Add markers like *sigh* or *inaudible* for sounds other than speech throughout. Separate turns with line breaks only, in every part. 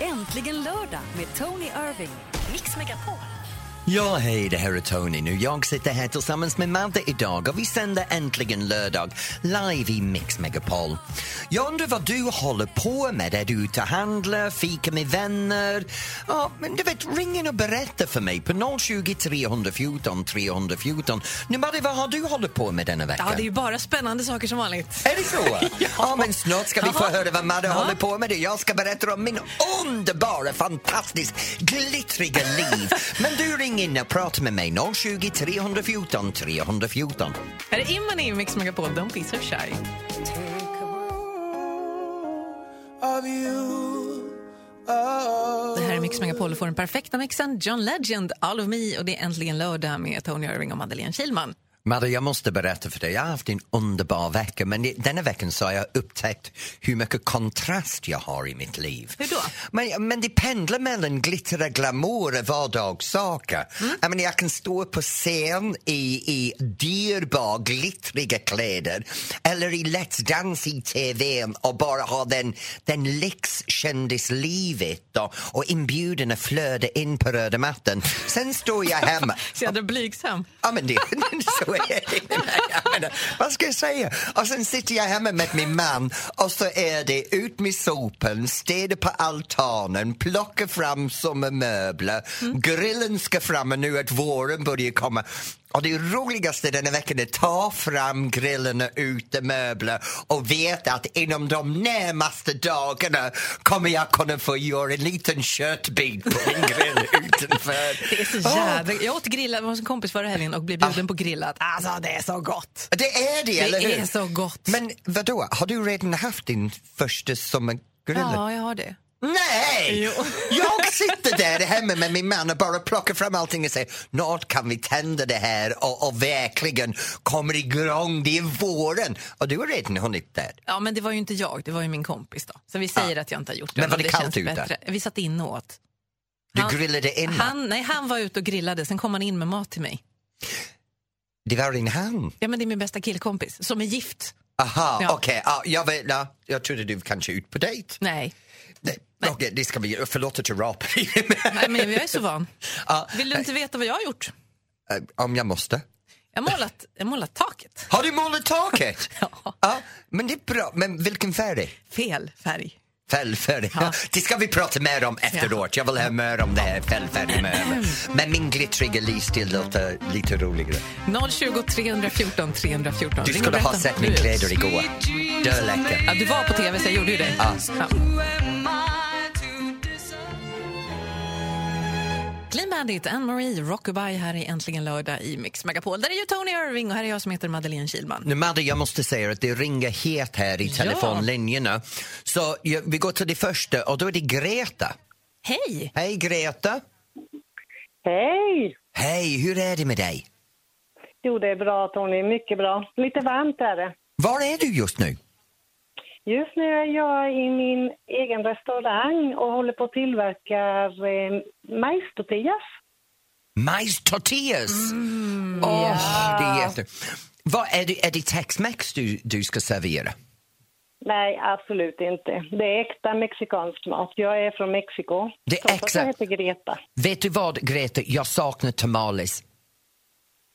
Äntligen lördag med Tony Irving. Mix Megapol.
Ja, hej, det här är Tony nu. Jag sitter här tillsammans med Madde idag och vi sänder äntligen lördag live i Mix Megapol. Jag undrar vad du håller på med? Är du ute och handlar, fika med vänner? Ja, men du vet, ring in och berätta för mig på 020 314 314. Nu Madde, vad har du hållit på med denna vecka?
Ja, det är ju bara spännande saker som vanligt.
Är det
*laughs*
så? ja. men snart ska vi få
Jaha.
höra vad Madde
Ja.
håller på med. Det. Jag ska berätta om min underbara, fantastiskt glittriga liv. men du ring in och prata med mig. 020 314 314.
Här är Imman i Mix Megapol, Don't be so shy. Det här är Mix Megapol och får den perfekta mixen. John Legend, All of Me och det är äntligen lördag med Tony Irving och Madeleine Kilman.
Madde, jag måste berätta för dig. Jag har haft en underbar vecka men i- denna veckan så har jag upptäckt hur mycket kontrast jag har i mitt liv.
Hur då?
Men, men det pendlar mellan glitter och glamour och vardagssaker.
Mm.
Jag, menar, jag kan stå på scen i, i dyrbar, glittriga kläder eller i Let's Dance i tvn och bara ha den, den lyxkändislivet och, och inbjudan att flöda in på röda mattan. Sen står jag
*laughs*
hemma
Så jag är blygsam.
Ja, men det, *laughs* så är det. Jag menar, vad ska jag säga? Och sen sitter jag hemma med min man och så är det ut med sopen, städa på altanen, plocka fram sommarmöbler, grillen ska fram och nu att våren börjar komma. Och det roligaste denna veckan är att ta fram grillen och utemöbler och veta att inom de närmaste dagarna kommer jag kunna få göra en liten köttbit på min
*laughs*
grill utanför.
Det är så jävla... Jag åt grillat med en kompis förra helgen och blev bjuden på grillat. Alltså, det är så gott!
Det är det, eller hur?
Det är så gott.
Men vadå, har du redan haft din första sommargrill?
Ja, jag har det.
Nej!
Jo.
Jag
*laughs*
sitter där hemma med min man och bara plockar fram allting och säger snart kan vi tända det här och, och verkligen kommer igång, det är våren. Och du har redan hunnit där.
Ja, men det var ju inte jag, det var ju min kompis då. Så vi säger att jag inte har gjort Ah. det.
Men var det kallt
känns
ute?
bättre. Vi satt inne och åt.
Du
Han-
grillade in.
Han, nej, han var ute och grillade, sen kom han in med mat till mig.
Det var en han.
Ja, men det är min bästa killkompis som är gift.
Aha,
Ja.
okej. Ja, jag, vet- ja, jag trodde du kanske ut på dejt.
Nej,
Nej, okej, det ska vi Förlåt att jag rapar. *laughs*
nej men jag är så *laughs* van.
Ja,
Vill du inte veta vad jag har gjort?
eh, Om jag måste.
Jag har målat, jag har målat taket.
Har du målat taket?
*laughs* Ja.
Ja, men det är bra. Men vilken färg?
Fel färg.
Fällfärg.
Ja.
Det ska vi prata mer om efteråt. Jag vill höra mer om det här
Mm.
fällfärgen. Men min glittriga livsstil låter lite roligare.
020 314 314.
Du
Ring och
skulle ha
berätta.
sett min
Du-
kläder igår. Döläcker.
Ja, du var på tv så jag gjorde ju det.
Ja.
Clean Bandit, Anne-Marie, Rockabye här i Äntligen lördag i Mix Megapol. Där är ju Tony Irving och här är jag som heter Madeleine Kilman.
Nu Madde, jag måste säga att det ringer het här i
Ja.
telefonlinjerna. Så ja, vi går till det första och då är det Greta.
Hej!
Hej Greta!
Hej!
Hej, hur är det med dig?
Jo, det är bra Tony. Mycket bra. Lite varmt är det.
Var är du just nu?
Just nu är jag i min egen restaurang och håller på att tillverka eh, majstortillas.
Majstortillas!
Mm.
Åh, det är jätte... Vad är det, är det Tex-Mex du, du ska servera?
Nej, absolut inte. Det är äkta mexikansk mat. Jag är från Mexiko.
Det är
Trots att
äkta-
jag heter Greta.
Vet du vad, Greta? Jag saknar tamales.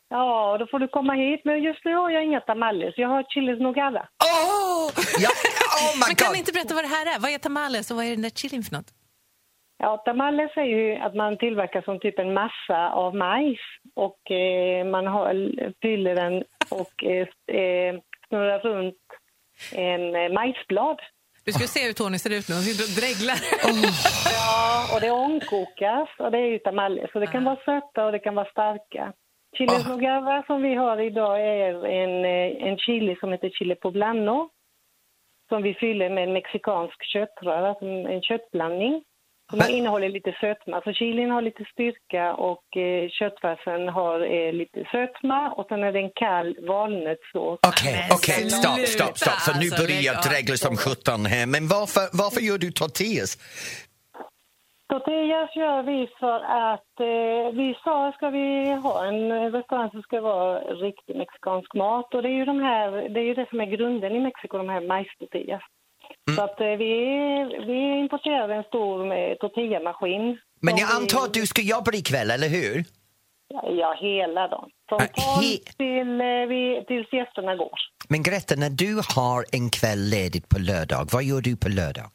Ja, då får du komma hit. Men just nu har jag inga tamales. Jag har chilis nogada.
Åh! Ja, oh my
Men kan
god!
ni inte berätta vad det här är? Vad är tamales och vad är den där chilin för något?
Ja, tamales är ju att man tillverkar som typ en massa av majs och eh, man har, fyller den och eh, eh, snurrar runt en eh, majsblad.
Du
Oh.
ska ju se hur Tony ser ut nu. Han sitter och dreglar. *laughs*
Ja, och det ångkokas och det är ju tamales. Så det kan vara söta och det kan vara starka. Chili
Ah.
nogada som vi har idag är en, eh, en chili som heter chili poblano som vi fyller med en mexikansk köttröra, som en köttblandning. Som
Men-
innehåller lite sötma. Så chilin har lite styrka och eh, köttfärsen har eh, lite sötma och sen är det en kall valnötssås.
Okej,
Men
okej, stopp,
sluta,
stopp, stopp, för nu
alltså,
börjar jag
lägg av.
dregla som sjutton här. Men varför, varför gör du tortillas?
Tortillas gör vi för att eh, vi sa ska vi ha en restaurang som ska vara riktig mexikansk mat och det är ju, de här, det, är ju det som är grunden i Mexiko, de här majstortillas.
Mm.
Så att eh, vi, vi importerade en stor eh, tortillamaskin.
Men
Som
jag antar att
vi,
du ska jobba ikväll, eller hur?
Ja, hela dagen.
Ah,
Från tolv
he-
till, eh, vi, tills gästerna går.
Men Greta, när du har en kväll ledigt på lördag, vad gör du på lördag?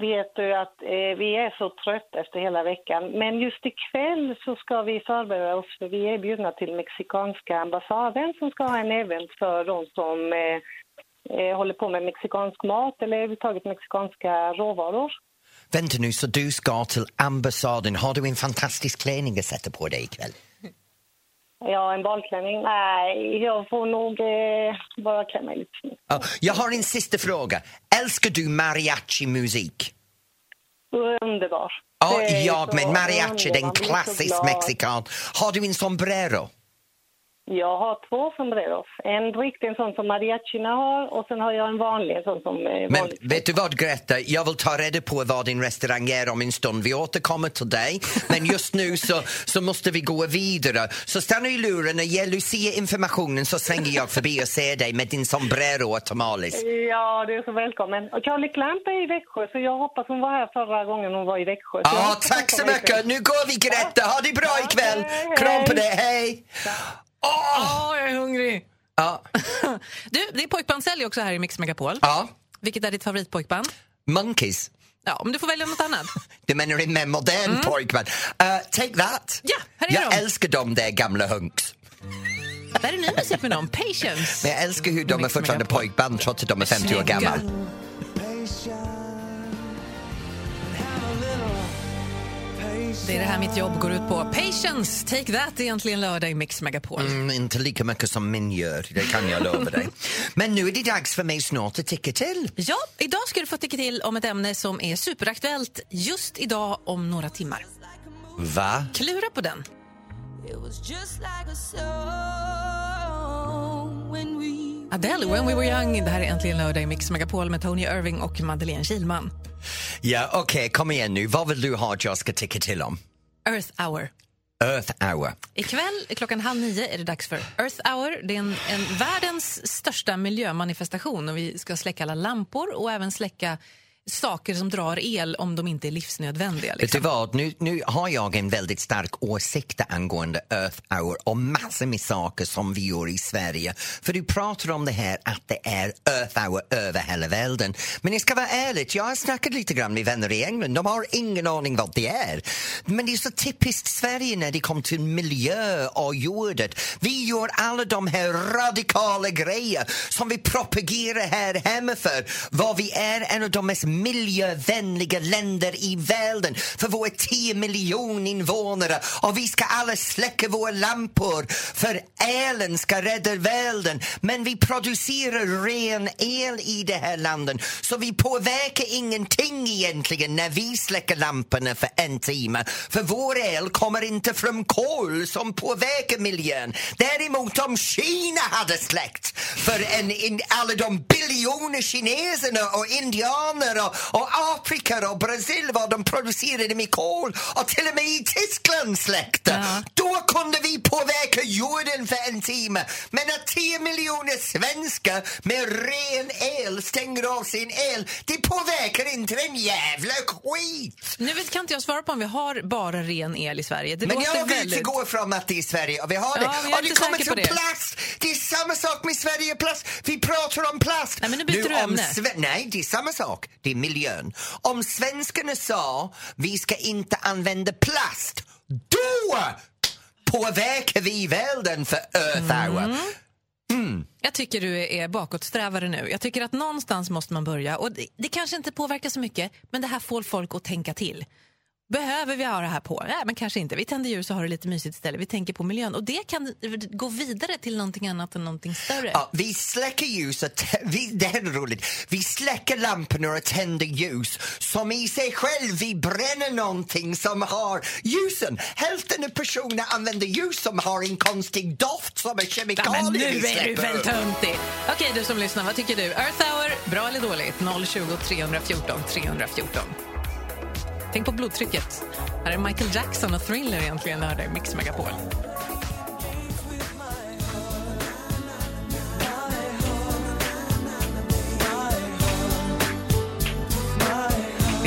Vet du att eh, vi är så trötta efter hela veckan. Men just ikväll så ska vi förbereda oss för vi är bjudna till mexikanska ambassaden som ska ha en event för de som eh, eh, håller på med mexikansk mat eller överhuvudtaget mexikanska råvaror.
Vänta nu, så du ska till ambassaden. Har du en fantastisk klänning att sätta på dig ikväll?
Ja, en balklänning? Nej, jag får nog eh, bara klä mig lite snyggt.
Ja, jag har en sista fråga. Älskar du mariachi-musik?
Underbar.
Ja,
Det är
jag
så
men mariachi,
underbar.
den
Man blir så
klassisk
glad.
mexikan. Har du en sombrero?
Jag har två sombreros. En riktig en sån som mariachina har och sen har jag en vanlig en sån som... Eh,
Men
vanlig.
vet du vad Greta, jag vill ta reda på vad din restaurang är om en stund. Vi återkommer till dig. Men just nu så, så måste vi gå vidare. Så stanna i luren och ge Lucia informationen så svänger jag förbi och ser dig med din sombrero och tamales.
Ja, du är så välkommen. Och Charlie Clamp är i Växjö så jag hoppas hon var här förra gången hon var i Växjö. jag
Ja,
hoppas hon
tack så
kommer hit.
mycket. Nu går vi Greta. Ha det bra
Ja,
ikväll.
hej,
Kram på dig.
hej.
Hej. Åh!
Åh, jag är hungrig! *laughs*
Ja,
Du, det är pojkbandshelg också här i Mix Megapol.
ja.
Vilket är ditt favoritpojkband?
Monkeys.
Ja, om du får välja något annat.
Du menar en mer modern pojkman. Eh, take that.
Mm. Ja, här är
jag
de.
älskar de där gamla hunks.
Där är ny musik med dem, Patience.
Men jag älskar hur de är
Mix
fortfarande
Megapol.
pojkband trots att de är 50 år
Mm, Snygga.
gamla.
Det är det här mitt jobb går ut på. Patience, take that, egentligen lördag i Mix Megapol.
Mm, inte lika mycket som min gör, det kan jag lova dig. Men nu är det dags för mig snart att ticka till.
Ja, idag ska du få tycka till om ett ämne som är superaktuellt just idag om några timmar.
Va?
Klura på den.
It was just like a song when we
Adele, When We Were Young. Det här är äntligen lördag i Mix Megapol med Tony Irving och Madeleine Kilman.
Ja, okej, kom igen nu. Vad vill du ha att jag ska ticka till om?
Earth Hour.
Earth hour.
Ikväll klockan halv nio är det dags för Earth Hour. Det är en, en världens största miljömanifestation och vi ska släcka alla lampor och även släcka saker som drar el om de inte är livsnödvändiga.
Vet du
Liksom.
vad, nu, nu har jag en väldigt stark åsikt angående Earth Hour och massor med saker som vi gör i Sverige. För du pratar om det här att det är Earth Hour över hela världen. Men jag ska vara ärlig, jag har snackat lite grann med vänner i England. De har ingen aning vad det är. Men det är så typiskt Sverige när det kommer till miljö och jordet. Vi gör alla de här radikala grejer som vi propagerar här hemma för. Vad vi är en av de mest miljövänliga länder i världen för våra 10 miljoner invånare och vi ska alla släcka våra lampor för elen ska rädda världen. Men vi producerar ren el i det här landet så vi påverkar ingenting egentligen när vi släcker lamporna för en timme. För vår el kommer inte från kol som påverkar miljön. Däremot om Kina hade släckt för en, in, alla de biljoner kineserna och indianer och, och Afrika och Brasil vad de producerade med kol och till och med i Tyskland släckte. Då kunde vi påverka jorden för en timme. Men att 10 miljoner svenskar med ren el stänger av sin el, det påverkar inte en jävla skit.
Nu vet, kan inte jag svara på om vi har bara ren el i Sverige. Det
Men
låter
jag vet
väldigt...
det går från att det är i Sverige och vi har det.
Ja, men jag är
och det
inte
kommer
säker på
till
det.
plast. Det är samma sak med Sverige och plast. Vi pratar om plast.
Nej, men nu byter du
om
ämne.
Sve- Nej, det är samma sak. Det är miljön. Om svenskarna sa vi ska inte använda plast, då påverkar vi världen för Earth Hour.
Mm. Jag tycker du är bakåtsträvare nu. Jag tycker att någonstans måste man börja. Och det, det kanske inte påverkar så mycket, men det här får folk att tänka till. Behöver vi ha det här på? Nej, men kanske inte. Vi tänder ljus och har det lite mysigt istället. Vi tänker på miljön. Och det kan gå vidare till någonting annat än någonting större.
Ja, vi släcker ljuset, vi, det här är roligt, vi släcker lamporna och tänder ljus som i sig själv, vi bränner någonting som har ljusen. Hälften av personerna använder ljus som har en konstig doft som är
Ja,
kemikalier
men nu
vi
är du
släpper
väl
upp. *laughs*
töntig! Okej, du som lyssnar, vad tycker du? Earth Hour, bra eller dåligt? 020 314 314. Tänk på blodtrycket. Här är Michael Jackson och Thriller egentligen lördag i Mix Megapol.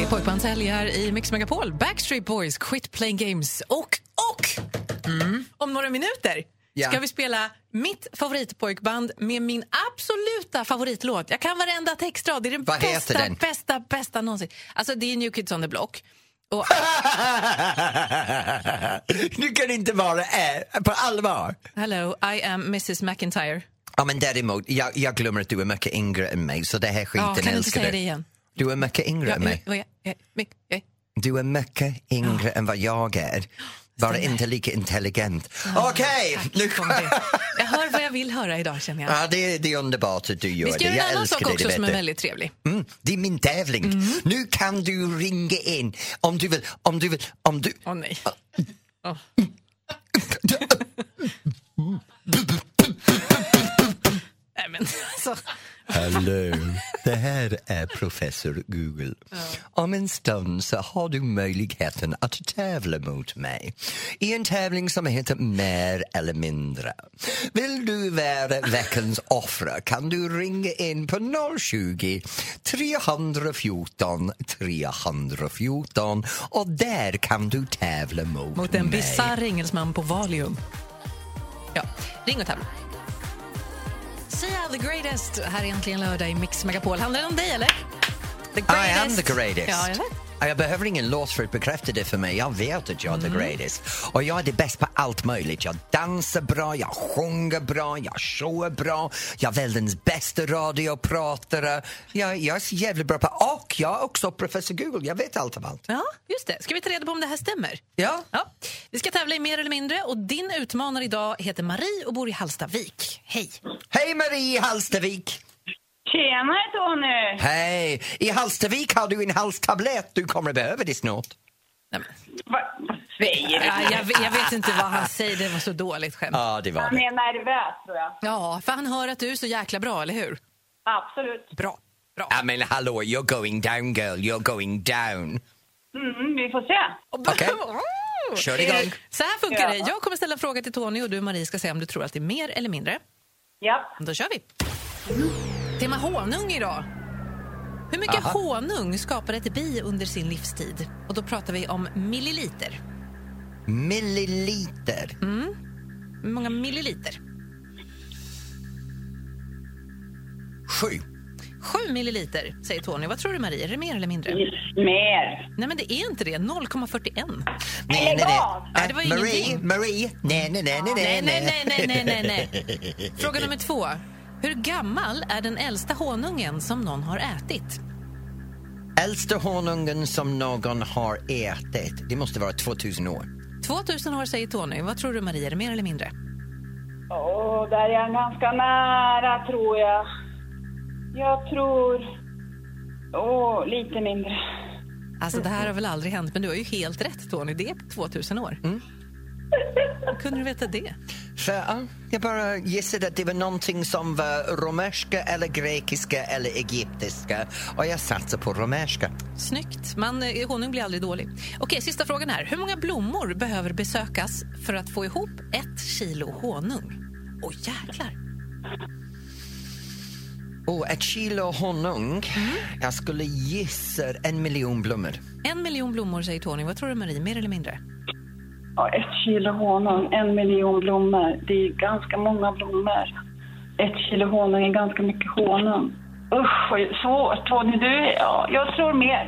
Pojkbandshelg här i Mix Megapol. Backstreet Boys, Quit Playing Games och, och mm, om några minuter
Ja.
ska vi spela mitt favoritpojkband med min absoluta favoritlåt. Jag kan varenda textrad. Det är den
Vad heter
bästa,
den?
bästa, bästa någonsin. Alltså det är New Kids on the Block. Och
du kan inte vara äh, på allvar.
hello, I am Mrs McIntyre.
Ja, men däremot, jag, jag glömmer att du är mycket yngre än mig så det här skiten
Ja, kan du inte
älskar
säga
du.
det igen?
Du är mycket yngre
Ja,
än mig.
vad jag- jag- jag- jag-
Du är mycket yngre än vad jag är. Bara inte lika intelligent. Okej!
Nu kommer det. Jag hör vad jag vill höra idag känner jag.
Ja, det, det är underbart att du gör
Vi ska
det.
göra
Jag
en annan
älskar
sak
dig,
också
det
som
vet
är
du.
väldigt Mm. trevlig.
Mm, det är min tävling. Nu kan du ringa in om du vill, om du vill, om du...
Åh nej. nej men alltså.
Hallå. Det här är professor Google. Om en stund så har du möjligheten att tävla mot mig i en tävling som heter Mer eller mindre. Vill du vara veckans offra kan du ringa in på 020 314 314 och där kan du tävla mot,
Mot en
mig.
bisarr engelsman på Valium. Ja, ring och tävla. Sia the greatest. Här är äntligen lördag i Mix Megapol. Handlar det om dig eller? The
I am the greatest.
Ja, eller?
Ja, jag behöver ingen lås för att bekräfta det för mig. Jag vet att jag är
Mm.
the greatest. Och jag är det bäst på allt möjligt. Jag dansar bra, jag sjunger bra, jag showar bra. Jag är världens bästa radiopratare. Jag, jag är så jävla bra på... Och jag är också professor Google. Jag vet allt om allt.
Ja, just det. Ska vi ta reda på om det här stämmer?
Ja.
Ja. Vi ska tävla i Mer eller mindre och din utmanare idag heter Marie och bor i Hallstavik. Hej!
Hej Marie i Halstavik!
Tjena Tony!
Hej! I Halstavik har du en halstablett. Du kommer att behöva det snart.
Nej,
Vad vad säger du?
men, ja, jag, vet- jag vet inte vad han säger, det var så dåligt skämt. Ja.
Ja, det var
Han
det.
är nervös tror jag.
för han hör att du är så jäkla bra, eller hur?
Absolut.
Bra. bra.
I mean, hallå, you're going down girl, you're going down.
Mm, vi får se.
okej. Kör igång.
Eh, Så här funkar
Ja.
det. Jag kommer ställa en fråga till Tony och du Marie ska säga om du tror att det är mer eller mindre.
Ja.
Då kör vi. Tema honung idag. Hur mycket
Aha.
honung skapar ett bi under sin livstid? Och då pratar vi om milliliter.
Milliliter.
Mm. Hur många milliliter?
Sju.
Sju milliliter, säger Tony. Vad tror du, Marie? Är det mer eller mindre?
Mm. Mer.
Nej, men det är inte det. 0,41.
Nej, nej, nej.
av!
Ja, det var ju
Marie,
ingenting.
Marie. Nej, nej, nej, nej,
Nej, nej, nej, nej, nej, nej, nej. Fråga nummer två. Hur gammal är den äldsta honungen som någon har ätit?
Äldsta honungen som någon har ätit, det måste vara 2000 år.
2000 år, säger Tony. Vad tror du, Marie? Är det mer eller mindre?
Åh, där är han ganska nära tror jag. Jag tror... Åh, lite mindre.
Alltså, det här har väl aldrig hänt, men du har ju helt rätt, Tony. Det är 2000 år. Hur *laughs* kunde du veta det?
För, ja, jag bara gissade att det var någonting som var romerska eller grekiska eller egyptiska och jag satsar på romerska.
Snyggt. Man, eh, honung blir aldrig dålig. Okej, sista frågan här. Hur många blommor behöver besökas för att få ihop ett kilo honung? Åh, jäklar.
Och ett kilo honung,
Mm.
jag skulle gissa en miljon blommor.
En miljon blommor, säger Tony. Vad tror du, Marie? Mer eller mindre?
Ja, ett kilo honung, en miljon blommor. Det är ganska många blommor. Ett kilo honung är ganska mycket honung. Usch, vad svårt. Tony, du... Ja, jag tror mer.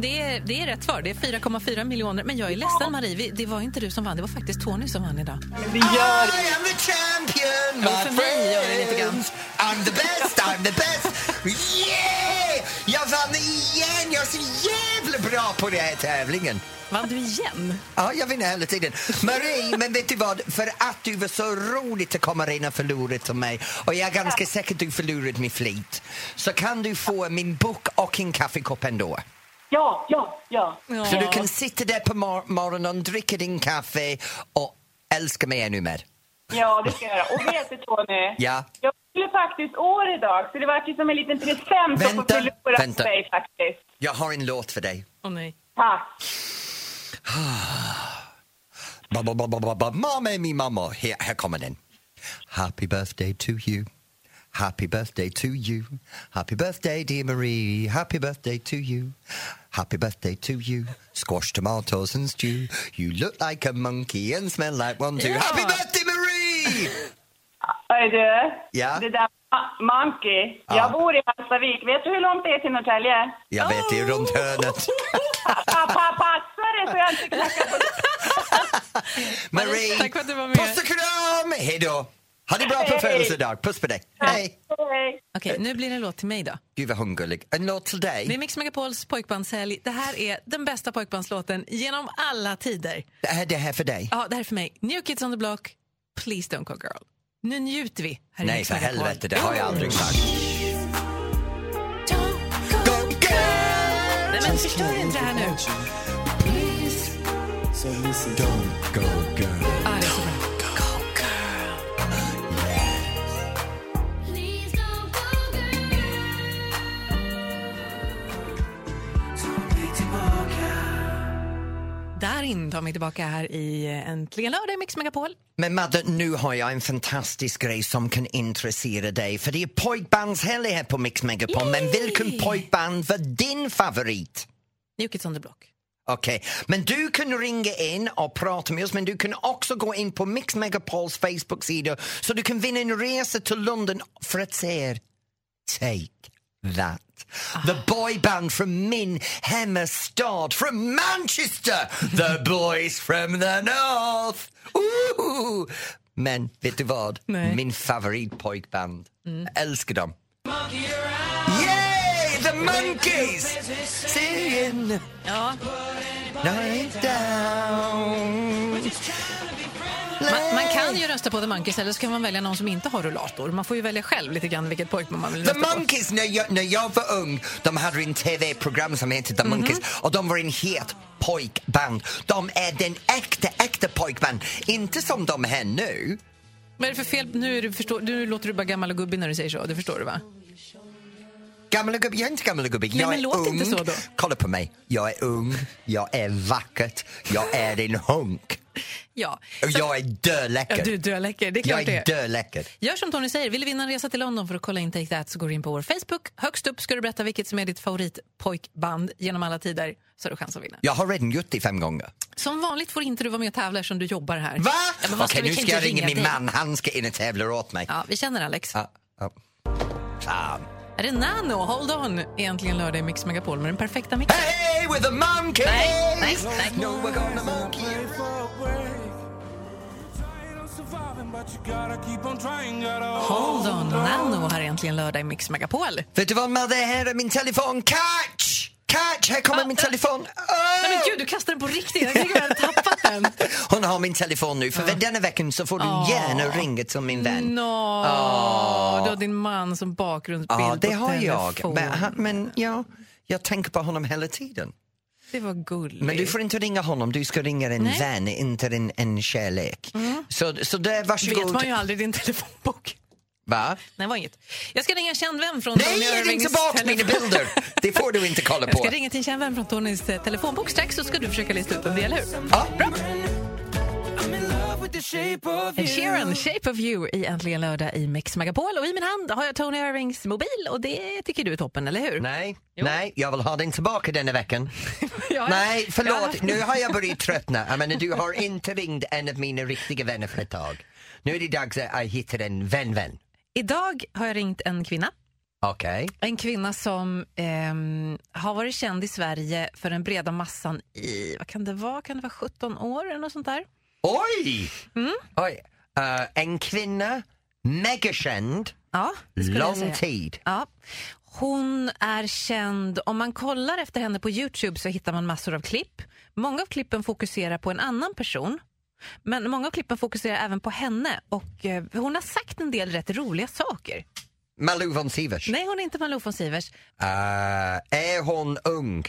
Det är, det är rätt svar. Det är 4,4 miljoner. Men jag är ledsen, Marie. Vi, det var inte du som vann. Det var faktiskt Tony som vann idag.
Vi gör
I am the champion,
Ja,
my
för mig gör det lite grann.
friends. I'm the best, I'm the best. Yeah! Jag vann igen! Jag är så jävla bra på den här tävlingen.
Vann du igen?
Ja, jag vinner hela tiden. Marie,
*laughs*
men vet du vad? För att du var så roligt att komma in och förlora till mig och jag är ganska säker att du förlorade med flit så kan du få min bok och en kaffekopp ändå.
Ja, ja, ja.
Så du kan sitta där på mor- morgonen, dricka din kaffe och älska mig ännu mer.
Ja, det ska jag göra. Och vet du Tony?
Ja.
Jag fyller faktiskt år idag, så det var ju som en liten present att få
Vänta,
förlora
vänta.
dig faktiskt.
Jag har en låt för dig.
Åh nej.
Tack.
Ba, ba, ba, ba, ba, ba. Mamma är min mamma. Här, här kommer den. Happy birthday to you. Happy birthday to you. Happy birthday dear Marie. Happy birthday to you. Happy birthday to you. Squash tomatoes and stew. You look like a monkey and smell like one too.
Ja.
Happy birthday Marie!
Hej du.
Ja.
Det där ma- Monkey.
Ja.
Jag bor i Hallstavik. Vet du hur långt det är till Norrtälje?
Jag vet, det är
Oh.
runt
*laughs*
hörnet.
Pappa, passa dig så jag inte knackar på
Marie,
Tack för att du var med.
puss och kram! Hej då! Ha det bra på
Hej.
födelsedag. Puss på dig. Hej!
dig.
Okej,
Eh.
nu blir det en låt till mig då.
Gud vad hungrig. En låt till
Det är
dig.
Mix Megapols pojkbandshelg. Det här är den bästa pojkbandslåten genom alla tider.
Det här, det här för dig.
Ja, det här är för mig. New Kids on the Block, Please Don't Go Girl. Nu njuter vi här i
Nej,
Mix
för
Megapol.
helvete, det har jag aldrig sagt.
Don't go-
Go girl!
Nej, men förstör inte det här nu. Ah,
Don't go girl.
Ah, det är så bra.
Please don't go, girl.
Darin tar mig tillbaka här i eh, Äntligen lördag i Mix Megapol.
Men Madde, nu har jag en fantastisk grej som kan intressera dig. För det är pojkbandshelg här på Mix Megapol. Men vilken pojkband var din favorit?
New Kids on the Block.
Okej, men du kan ringa in och prata med oss men du kan också gå in på Mix Megapols Facebook-sida så du kan vinna en resa till London för att se er. Take that. The boyband från min hemmastad, från Manchester! The boys from the north! Ooh! Men vet du vad?
Nej.
Min favoritpojkband. Jag älskar dem. Yay! The Monkeys! Singing
Ja,
Night down.
man, man kan ju rösta på The Monkeys eller så kan man välja någon som inte har rullator. Man får ju välja själv lite grann vilket pojkband man vill
The
rösta på.
Monkeys, när jag, när jag var ung, de hade en tv-program som hette The Monkeys
Mhm.
och de var en het pojkband. De är den äkta, äkta pojkband. Inte som de här nu.
Vad är det för fel? Nu, är du, förstår, nu låter du bara gammal och gubbig när du säger så. Det förstår du va?
Gamla gubbe, jag är inte gamla gubbe, jag
men
är
låt
ung.
inte så då.
Kolla på mig, jag är ung, jag är vackert, jag är en hunk.
Ja.
Och jag är
Ja,
döläcker.
du, du är läcker. Det är klart
jag
det
är
är.
döläcker.
Gör som Tony säger, vill du vinna en resa till London för att kolla in Take That så går du in på vår Facebook. Högst upp ska du berätta vilket som är ditt favoritpojkband genom alla tider så har du chans att vinna.
Jag har redan gjort det fem gånger.
Som vanligt får inte du vara med och tävla eftersom du jobbar här.
Va?
Ja, men vad
Okej,
vi
nu
kan
ska jag
inte
ringa min
dig.
man. Han ska in och tävla åt mig.
Ja, vi känner Alex.
Ja, ja. Fan.
Är det Nano? Hold on! Egentligen lördag i Mix Megapol med den perfekta mixen.
Hey, with the monkeys!
Nej, nej, nej.
No, we're gonna monkey.
Hold on, Nano har egentligen lördag i Mix Megapol.
Vet du vad, Madde? Här är min telefon. Catch! Catch! Här kommer
Ah,
min
eh.
telefon.
Nej men
Oh!
gud, du kastade den på riktigt. Jag tycker jag hade tappat den.
Hon har min telefon nu, för denna veckan så får du gärna ringa till min vän.
Nå, du har din man som bakgrundsbild
Ja, det
på
har jag.
telefon.
Men, han- men ja, jag tänker på honom hela tiden.
Det var gulligt.
Men du får inte ringa honom, du ska ringa en
Nej. Mm.
vän, inte en, en kärlek. Så, så det, varsågod.
vet man ju aldrig i din telefonbok.
Va?
Nej, det var inget. Jag ska ringa en känd vän från Tony
Nej, ring
Irvings
tillbaka
telefon-
mina bilder! Det får du inte kolla
Jag
på.
*laughs* ska ringa till en känd vän från Tonys eh, telefonbok strax så ska du försöka lista ut vem det är, eller hur?
Ja.
Ed Sheeran, Shape of You i Äntligen lördag i Mix Megapol. Och i min hand har jag Tony Irvings mobil och det tycker du är toppen, eller hur?
Nej, nej, jag vill ha den tillbaka denna
*laughs*
veckan.
Jag har-
Nej,
jag
förlåt,
haft-
nu har jag
*laughs*
börjat tröttna. Jag menar, du har inte ringt en av mina riktiga vänner för ett tag. Nu är det dags att jag hittar en vän-vän.
Idag har jag ringt en kvinna.
Okej.
En kvinna som ehm, har varit känd i Sverige för den breda massan i, vad kan det vara, kan det vara 17 år eller något sånt där?
Oj!
Mm.
Oj. eh, en kvinna, megakänd,
Ja, det skulle jag
lång
säga.
tid.
Ja. Hon är känd, om man kollar efter henne på Youtube så hittar man massor av klipp. Många av klippen fokuserar på en annan person. Men många av klippen fokuserar även på henne och eh, hon har sagt en del rätt roliga saker.
Malou von Sivers.
Nej, hon är inte Malou von Sivers.
Eh, är hon ung?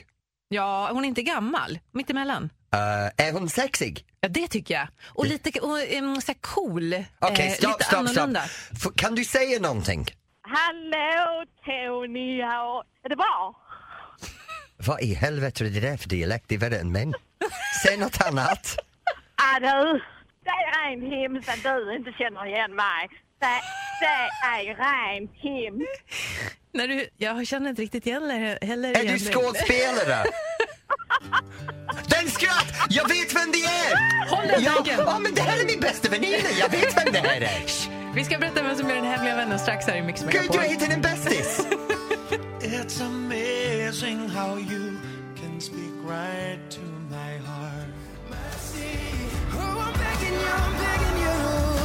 Ja, hon är inte gammal, mittemellan.
Eh, är hon sexig?
Ja, det tycker jag. Och lite och, um, så här cool,
Okej,
eh,
stopp,
lite
stopp, stopp.
annorlunda.
F- Kan du säga någonting?
Hallå Tony, ja, är det bra?
Vad i helvete är det där för dialekt? Det är värre än min. Säg något
*laughs*
annat.
Ja du, det är en hemsa du inte känner igen mig. Det say I rhyme him.
När du, jag känner inte riktigt igen det heller.
Är
igen
du
dig.
skådespelare? Den skratt! Jag vet vem det är!
Håll den
ja,
tanken.
ja, men det här är min bästa väninna. Jag vet vem det här är.
Vi ska berätta vem som är den hemliga vännen strax här i Mix
Gud, jag
Megapol.
hittade en bästis!
It's amazing how you can speak right to my heart.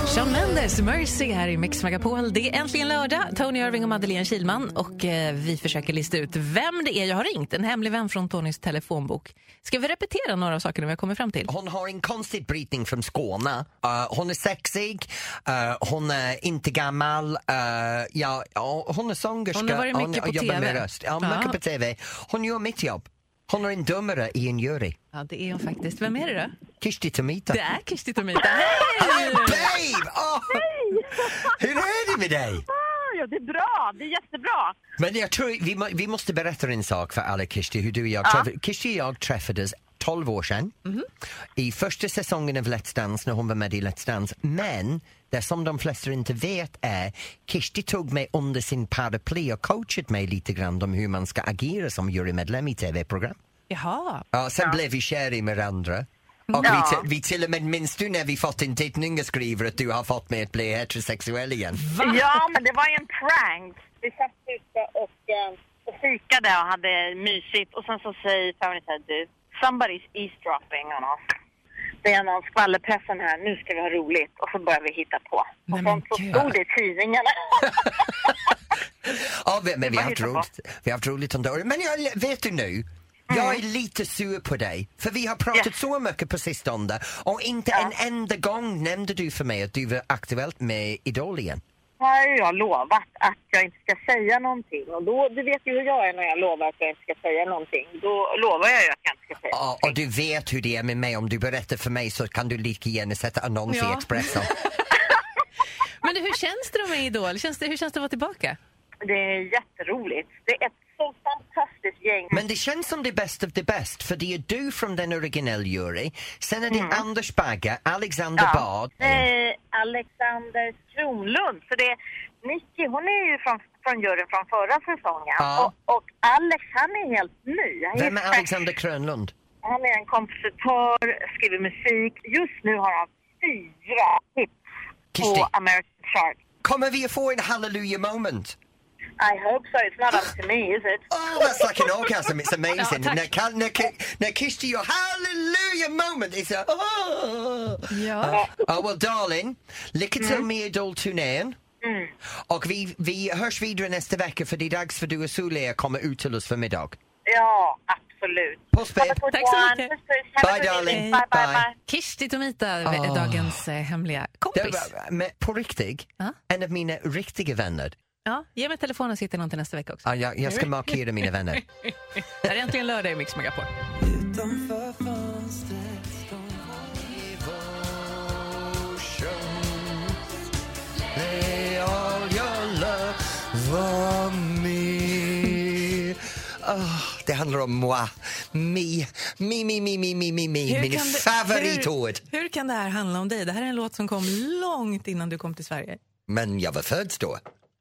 Shawn Mendes, Mercy här i Mix Megapol. Det är äntligen lördag. Tony Irving och Madeleine Kilman. Och eh, vi försöker lista ut vem det är jag har ringt. En hemlig vän från Tonys telefonbok. Ska vi repetera några av sakerna vi har kommit fram till?
Hon har en konstig brytning från Skåne. Eh, hon är sexig, eh, hon är inte gammal, eh, ja, ja, hon är sångerska.
Hon har varit mycket på
jobbar
TV.
Med röst. Ja,
Ja.
mycket på TV. Hon gör mitt jobb. Hon är en dömare i en jury.
Ja, det är hon faktiskt. Vem är det då?
Kishti Tomita.
Det är Kirsti Tomita. Hej!
Oh, babe! Oh. Hur är det med dig?
Ah, ja, det är bra. Det är jättebra.
Men jag tror vi, må, vi måste berätta en sak för alla Kirsti, hur du och jag träffades. Kirsti och jag träffades 12 år sedan i första säsongen av Let's Dance när hon var med i Let's Dance. Men det som de flesta inte vet är Kirsti tog mig under sin paraply och coachat mig lite grann om hur man ska agera som jurymedlem i tv-program.
Jaha.
Ja, sen blev vi kär i varandra. Och
Ja.
vi, vi till och med, minns du när vi fått en tittning och skriver att du har fått mig att bli heterosexuell igen?
Ja, men det var ju en prank. Vi satt ute och, eh, och fikade och hade mysigt. Och sen så säger Tony så här, du, somebody's eavesdropping on us. Det är någon skvallerpressen här, nu ska vi ha roligt. Och så börjar vi hitta på.
Nej,
Och
men
sen så
gud.
stod det i
*laughs*
tidningarna.
Ja, vi- men vi har
Vad
haft
hittar
roligt. Vi har haft roligt under året. Men jag, vet du nu? Jag är lite sur på dig, för vi har pratat
Mm. Ja.
så mycket på sistone och inte en enda gång nämnde du för mig att du var aktuellt med Idol igen.
har ju jag lovat att jag inte ska säga någonting. Och då, du vet ju hur jag är när jag lovar att jag inte ska säga någonting. Då lovar jag ju att jag inte ska säga
Ja, och du vet hur det är med mig, om du berättar för mig så kan du lika gärna sätta annons i
Ja.
*laughs*
Expressen.
Men du, hur känns det då med Idol? Känns det, hur känns det att vara tillbaka?
Det är jätteroligt. Det är ett så fantastiskt gäng.
Men det känns som det bäst av det bäst, för det är du från den originell jury, sen är
Mm.
det Anders Bagge, Alexander Bard.
Eh, Alexander Kronlund. För det är Nicky, hon är ju från, från juryn från förra säsongen.
Ja.
Och, och Alex, han är helt ny. Han
Vem är
helt-
Alexander Krönlund?
Han är en kompositör, skriver musik. Just nu har han fyra hits
Kirsti.
på American Shark.
Kommer vi att få en hallelujah moment?
I hope so. It's not up to
*gasps*
me, is it?
Oh, that's like an orgasm. It's amazing.
Ja, tack.
när, Ka- när, Ki- när Kishti gör hallelujah moment, it's a... Oh.
Ja.
Oh, well, darling, lycka till med Idol-turnén. Och vi, vi hörs vidare nästa vecka för det är dags för du och Solea kommer ut till oss för middag.
Ja, absolut.
Puss, babe.
Have a good
Tack så
one.
mycket.
Puss, puss. Have a
Bye,
good
darling.
evening. Bye, bye,
Bye.
bye.
Kirsti Tomita, är dagens eh, hemliga
Ah. Det
kompis.
var, men på riktigt,
Ja.
en av mina riktiga vänner.
Ja, ge mig telefonen så hittar jag någon till nästa vecka också.
Ah, jag, jag ska markera mina vänner.
Det här är äntligen lördag i Mix Megapol.
They all your love for me. Ah, det handlar om moi, me, me, me, me, me, me, me, me. min
kan det-
favoritord.
Hur, hur kan det här handla om dig? Det här är en låt som kom långt innan du kom till Sverige.
Men jag var född då.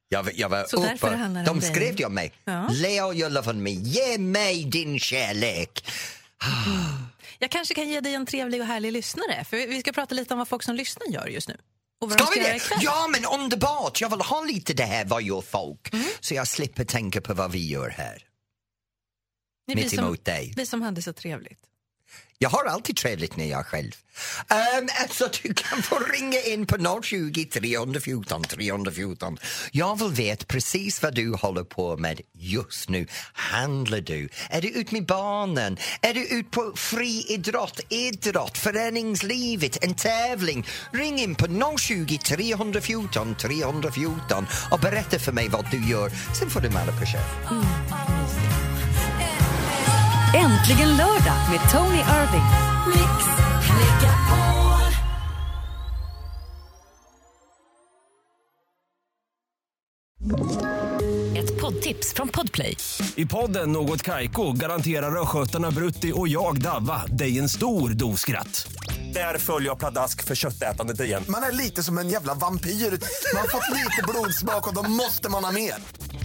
Jag, var- jag var
Så därför
uppe.
handlar det om
De
dig.
skrev det om mig.
Ja.
Lay all your love on me. Ge mig din kärlek.
Jag kanske kan ge dig en trevlig och härlig lyssnare. För vi- vi ska prata lite om vad folk som lyssnar gör just nu. Och vad
Ska
de
vi
ska göra
det?
ikväll.
Ja, men underbart! Jag vill ha lite det här, vad gör folk?
Mm.
Så jag slipper tänka på vad vi gör här.
Ni,
Mitt
vi, som,
emot dig.
vi som hade så trevligt.
Jag har alltid trevligt när jag är själv. Um, alltså, du kan få ringa in på 020 314 314. Jag vill veta precis vad du håller på med just nu. Handlar du? Är du ut med barnen? Är du ut på friidrott, idrott, föreningslivet, en tävling? Ring in på 020 314 314 och berätta för mig vad du gör. Sen får du med dig på köpet.
Äntligen lördag med Tony Irving. Mix Megapol. Ett poddtips från Podplay.
I podden Något Kaiko garanterar östgötarna Brutti och jag, Davva, dig en stor dos skratt.
Där följer jag pladask för köttätandet igen.
Man är lite som en jävla vampyr. Man har fått lite blodsmak och då måste man ha mer.